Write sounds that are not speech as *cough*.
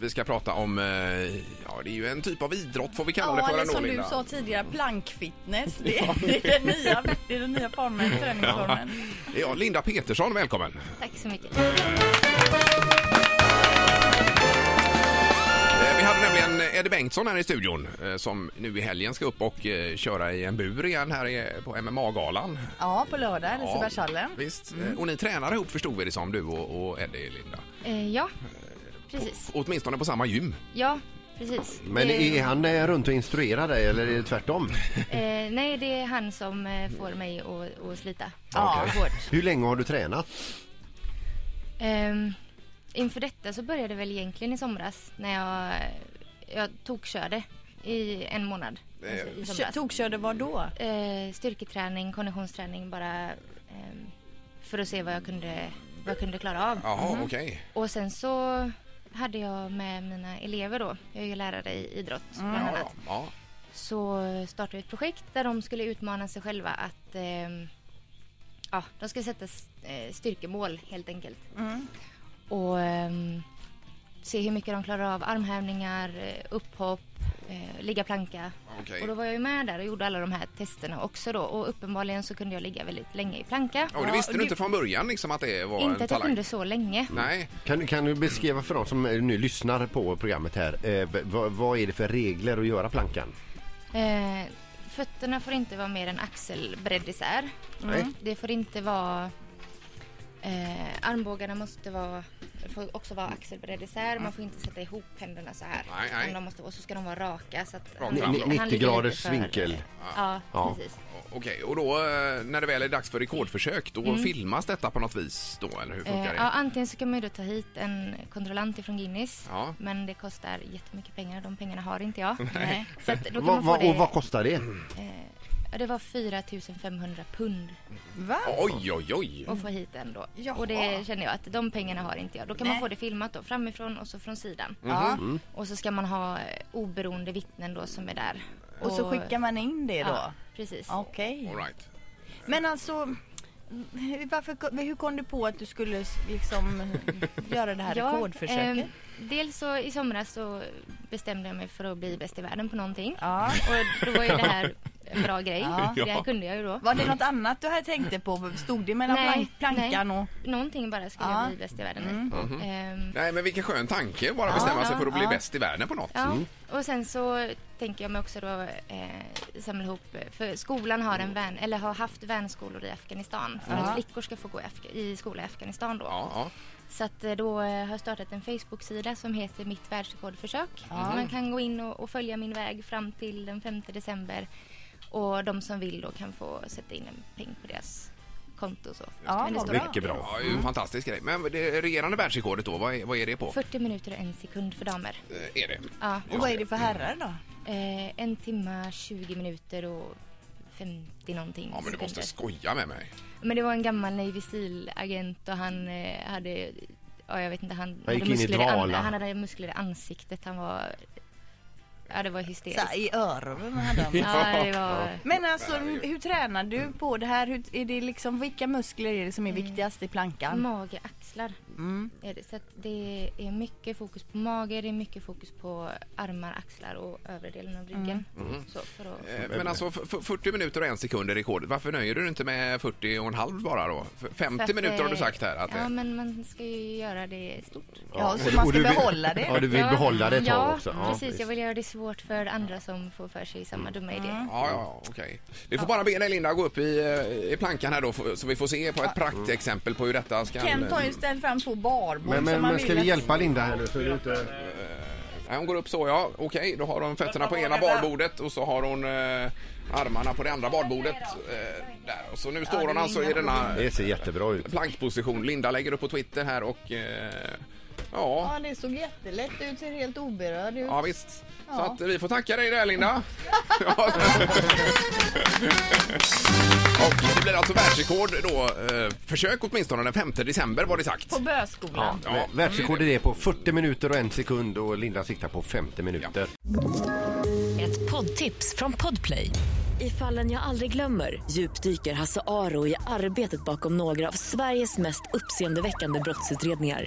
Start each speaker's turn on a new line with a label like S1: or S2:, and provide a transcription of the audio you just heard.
S1: Vi ska prata om, eh, ja det är ju en typ av idrott får vi kalla det
S2: Ja,
S1: för
S2: eller
S1: ändå,
S2: som du
S1: Linda.
S2: sa tidigare, plankfitness. Det är, det är, den, nya, det är den nya formen, träningsformen.
S1: *laughs* Ja, Linda Petersson, välkommen.
S3: Tack så mycket.
S1: Eh, Vi hade nämligen Eddie Bengtsson här i studion eh, som nu i helgen ska upp och eh, köra i en bur igen här i- på MMA-galan.
S2: Ja, på lördag, Lisebergshallen.
S1: visst. Eh, Och ni tränar ihop förstod vi det som, du och, och Eddie, Linda.
S3: Eh, ja, precis.
S1: Åtminstone på samma gym.
S3: Ja, precis.
S4: Men
S3: Det-
S4: är han eh, runt och instruerar dig eller är
S3: *laughs*
S4: det tvärtom?
S3: eh, nej, det är han som eh, får mig att, att slita
S2: Ja.
S3: ja. hårt.
S4: Hur länge har du tränat?
S3: Ehm, inför detta så började det väl egentligen i somras när jag, jag tokkörde i en månad. Alltså,
S1: Eh,
S3: i
S2: Kö-
S3: somras.
S2: Tokkörde vad då?
S3: Eh, styrketräning, konditionsträning bara ehm, för att se vad jag kunde, vad jag kunde klara av.
S1: Jaha, okej.
S3: Och sen så hade jag med mina elever då, jag är ju lärare i idrott bland
S1: Mm. Ja,
S3: annat.
S1: ja, ja.
S3: så startade vi ett projekt där de skulle utmana sig själva att ehm, ja, de skulle sätta s- eh, styrkemål helt enkelt.
S2: Mm.
S3: Och ehm, se hur mycket de klarar av armhävningar, eh, upphopp, eh, ligga planka.
S1: Okej.
S3: Och då var jag ju med där och gjorde alla de här testerna också då och uppenbarligen så kunde jag ligga väldigt länge i planka.
S1: Och det
S2: Ja,
S1: visste du
S2: det-
S1: inte från början liksom att det var
S3: Inte
S1: en
S3: att jag
S1: talang?
S3: kunde så länge.
S1: Nej,
S4: Kan, kan du beskriva för de som eh, nu lyssnar på programmet här, eh, v- vad, vad är det för regler att göra plankan?
S3: Eh, fötterna får inte vara mer än axelbredd isär. Mm.
S4: Nej.
S3: Det får inte vara... Eh, armbågarna måste vara, får också vara axelbredd isär. Man får inte sätta ihop händerna så här.
S1: Nej, nej.
S3: Om De måste, och så ska de vara raka. Så att
S1: Rakt fram,
S3: ligger-
S4: rakt.
S3: ligger
S4: 90 graders
S3: lite för-
S4: vinkel.
S3: Ja,
S4: Ja.
S3: precis.
S1: O- okej. Och då eh, när det väl är dags för rekordförsök då filmas detta på något vis då eller hur
S3: Mm. Eh,
S1: funkar
S3: ja,
S1: det?
S3: antingen så kan man ju då ta hit en kontrollant ifrån Guinness.
S1: Ja.
S3: Men det kostar jättemycket pengar. De pengarna har inte jag. Nej. Så att då kan
S4: Vad-
S3: man
S4: vad-
S3: få
S4: och vad
S3: det.
S4: kostar det?
S3: Det var 4 500 pund.
S2: Va?
S1: Oj, oj, oj.
S3: och få hit den då.
S2: Jaha.
S3: Och det känner jag att de pengarna har inte jag. Då kan
S2: Nej.
S3: man få det filmat då framifrån och så från sidan.
S2: Ja.
S1: Mm-hmm.
S2: Mm.
S3: Och så ska man ha eh, oberoende vittnen då som är där.
S2: Och så skickar man in det då?
S3: Ja, precis.
S2: Okej.
S1: All right.
S2: Men alltså, hur- varför, hur kom du på att du skulle s- liksom *laughs* göra det här
S3: Ja,
S2: rekordförsöket?
S3: ehm, dels så i somras så bestämde jag mig för att bli bäst i världen på någonting.
S2: Ja.
S3: Och då var ju
S2: *laughs*
S3: det här en bra grej.
S2: Ja.
S3: Det här kunde jag ju då.
S2: Var det något annat du här tänkte på? Stod det mellan
S3: Nej,
S2: plank- plankan
S3: nej.
S2: och...
S3: Någonting bara skulle
S2: Ja. Mm.
S3: jag bli bäst i världen i. Ehm,
S1: Nej, men vilken skön tanke bara bestämma sig för att bli bäst i världen på något. Mm.
S3: Ja, Mm. och sen så tänker jag mig också då eh, samla ihop, för skolan har en vän, eller har haft vänskolor i Afghanistan för att flickor ska få gå i Afga- i skola i Afghanistan då.
S1: Ja, ja.
S3: Så att eh, då eh, har jag startat en Facebook-sida som heter Mitt världsrekordförsök. Så man kan gå in och, och följa min väg fram till den 5 december och de som vill då kan få sätta in en peng på deras konto och så.
S2: Ja,
S3: Men det
S2: vad
S3: står
S4: Mycket bra.
S1: Ja, det är ju en fantastisk grej. Men det regerande världsrekordet då, vad är, vad är det på?
S3: 40 minuter och en sekund för damer.
S1: Eh, Är det?
S3: Ja.
S2: Och vad är det för herrar då?
S3: Eh, en timma, 20 minuter och 50 någonting
S1: Ja, men du måste
S3: sekunder.
S1: skoja med mig.
S3: Men det var en gammal Navy Seal-agent och han eh, hade, ja jag vet inte, han,
S4: gick
S3: hade
S4: in i
S3: muskler, i an-
S4: dvala.
S3: han hade muskler i ansiktet. Han var, ja det var hysteriskt.
S2: Så här, I öronen hade de.
S3: Ja, det var,
S2: Men alltså, hur tränar du på det här? Hur, är det liksom, vilka muskler är det som är
S4: Mm.
S2: viktigast i plankan? Mm.
S3: mage, axlar. Är det. Så att det är mycket fokus på mage, det är mycket fokus på armar, axlar och övre delen av ryggen. Så för att,
S1: Mm. Eh, Men alltså f- f- 40 minuter och en sekund är rekordet. Varför nöjer du dig inte med 40 och en halv bara då? F- 50
S3: för att,
S1: minuter har du
S3: eh,
S1: sagt här. Att,
S3: ja,
S1: eh,
S3: men man ska ju göra det stort.
S2: Ja, så
S4: du-
S2: man ska
S4: du vill-
S2: behålla det.
S4: Ja, du vill
S3: Ja,
S4: behålla det ett tag
S3: ja,
S4: också.
S3: precis. Jag vill göra det svårt för andra som får för sig samma dumma idé.
S4: Mm.
S1: Ja, ja, okej. Vi får bara be dig Linda gå upp i, eh, i plankan här då f- så vi får se på ett praktexempel på hur detta ska...
S2: Kent har ju ställt fram två barbord
S4: Mm. Men, men,
S2: som man
S4: men ska
S2: vill
S4: vi
S2: att-
S4: hjälpa Linda här nu? Så är det inte...
S1: Nej, hon går upp så ja, okej. Då har hon fötterna på ena barbordet och så har hon eh, armarna på det andra barbordet. Eh, där. Och så nu står hon alltså i denna
S4: Det ser jättebra ut.
S1: plankposition. Linda lägger upp på Twitter här och eh, ja,
S2: Ja, det såg jättelätt ut. Ser helt oberörd ut.
S1: ja visst. Så att eh, vi får tacka dig där Linda. Ja. och det blir alltså världsrekord då. Eh, försök åtminstone den 5 december var det sagt.
S2: På Böskolan.
S1: Ja.
S4: Världsrekordet är på 40 minuter och en sekund och Linda siktar på 50 minuter.
S5: Ett poddtips från Podplay. I fallen jag aldrig glömmer djupdyker Hasse Aro i arbetet bakom några av Sveriges mest uppseendeväckande brottsutredningar.